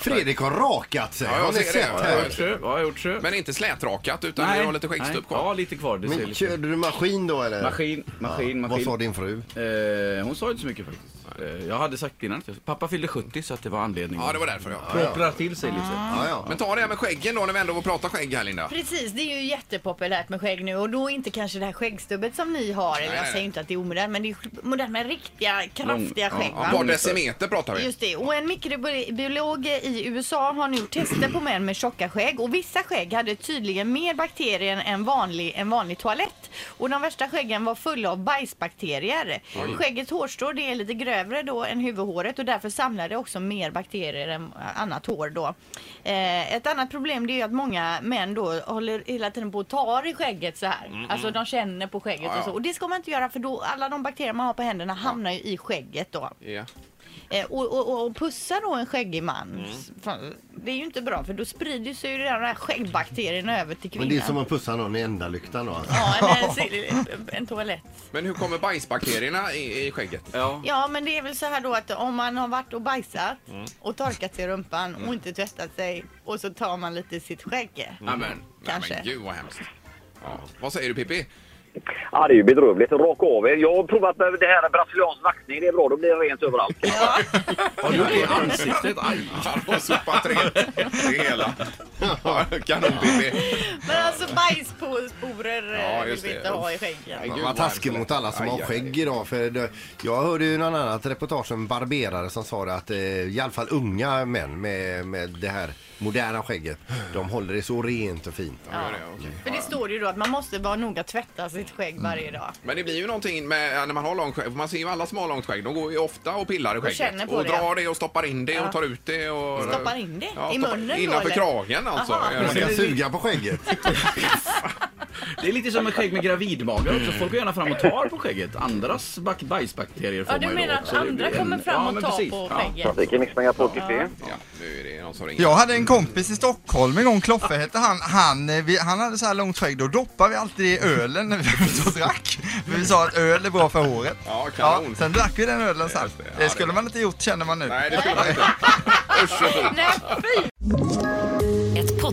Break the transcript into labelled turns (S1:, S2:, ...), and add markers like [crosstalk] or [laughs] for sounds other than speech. S1: Fredrik har rakat sig.
S2: Ja, jag
S1: har ni
S2: ser det.
S1: sett
S2: Ja,
S3: Jag har
S1: här?
S3: gjort så. Ja, jag har gjort så.
S2: Men inte slätrakat utan du har lite skäggstubb
S3: nej. Ja,
S2: kvar.
S3: lite kvar. Det ser
S1: Men,
S3: lite.
S1: körde du maskin då eller?
S3: Maskin, maskin,
S1: Vad
S3: maskin.
S1: sa din fru?
S3: Eh, hon sa inte så mycket faktiskt. Eh, jag hade sagt innan att jag- pappa fyllde 70 så att det var anledningen.
S2: Ja, det var därför ja.
S3: Proprar till sig lite.
S1: Ja, ja.
S2: Men ta det här med skäggen då när vi ändå pratar skägg här Linda.
S4: Precis, det är ju jättepopulärt med skägg nu och då inte kanske det här skäggstubbet som ni har. Eller
S2: Nej,
S4: jag
S2: nej.
S4: säger inte att det är omodernt men det är ju modernt med riktiga kraftiga
S3: Lång-
S4: skägg.
S2: Ja,
S4: va?
S2: ett par decimeter pratar vi.
S4: Just det. Och en mikrobiolog i USA har nu gjort tester på män med tjocka skägg och vissa skägg hade tydligen mer bakterier än vanlig, en vanlig toalett. Och de värsta skäggen var fulla av bajsbakterier. Skäggets hårstrå det är lite grövre då än huvudhåret och därför samlar det också mer bakterier än annat hår då. Eh, ett annat problem det är ju att många män då håller hela tiden på och tar i skägget så här. Alltså de känner på skägget
S2: Ja, ja.
S4: och så. Och det ska man inte göra för då alla de bakterier man har på händerna hamnar ju i skägget då.
S2: Ja.
S4: Eh, och, och, och pussa då en skäggig man. Fan, Det är ju inte bra för då sprider sig ju de här skäggbakterierna över till
S1: Men
S4: kvinnan.
S1: det är som att pussa någon i ändalyktan då. alltså.
S4: Ja, eller en, eh, en, en toalett.
S2: Men hur kommer bajsbakterierna i, i skägget?
S3: Ja.
S4: Ja, men det är väl så här då att om man har varit och bajsat och torkat sig i rumpan och inte tvättat sig och så tar man lite i sitt skägg.
S3: Mm.
S2: Amen.
S4: Kanske.
S2: Nej, men gud vad hemskt. Ja. Vad säger du Pippi?
S5: Ja, det är ju bedrövligt. Raka av er. Jag har provat med det här brasiliansk vaxning. Det är bra, då blir det rent överallt.
S3: Har du det i ansiktet? Aj.
S2: Han har sopat rent det hela. Ja, Kanon Pippi.
S4: Men alltså bajsporer eh,
S2: Ja,
S4: vill
S2: just
S4: vi
S2: det.
S4: inte ha i skäggen.
S2: Nej, gud,
S1: Vad
S2: vad
S1: taskig
S2: hemskt.
S1: mot alla som
S2: Aj,
S1: har
S2: aj,
S1: skägg idag. För det, jag hörde ju någon annat reportage om en barberare som sa det att eh, i alla fall unga män med, med det här moderna skägget, de håller det så rent och fint.
S2: Ja, det är okej.
S4: För det står ju då att man måste vara noga tvätta sitt skägg varje dag.
S2: Men det blir ju någonting med när man har långt skägg. för Man ser ju alla som har långt skägg. De går ju ofta och pillar i
S4: känner
S2: skägget.
S4: på
S2: Och
S4: det.
S2: drar det och stoppar in det och tar ut det. Och,
S4: Stoppar in det?
S2: Ja,
S4: I
S2: stoppar-
S4: munnen då,
S2: Innanför
S4: eller?
S2: kragen alltså.
S4: Aha.
S2: Gör
S1: Man
S2: det.
S1: ska suga på skägget.
S3: Det är lite som en skägg med gravidmagar också. Folk går gärna fram och tar på skägget. Andras bak- bajsbakterier får
S4: Ja, du
S3: man ju
S4: menar
S3: då.
S4: att
S3: Så det blir
S4: andra
S3: en-
S4: kommer fram
S3: Ja,
S4: och
S3: men
S4: tar
S3: precis.
S4: på
S3: Ja.
S4: skägget?
S5: Trafiken Mix Megapol TV.
S2: Ja, nu är det någon som ringer.
S6: Jag hade en kompis i Stockholm en gång, Kloffe hette han. Han, eh, vi, han hade så här långt skägg, då doppade vi alltid i ölen när vi [laughs] var ute och drack. För vi sa att öl är bra för håret.
S2: Ja, kanon.
S6: sen drack vi den ölen sen.
S2: Just det. Ja, det
S6: Det
S2: är
S6: skulle
S2: bra.
S6: man inte gjort känner man nu.
S2: Nej, det skulle man
S4: [laughs]
S2: inte. Usch och fy.
S4: Nej, fy!
S7: Ett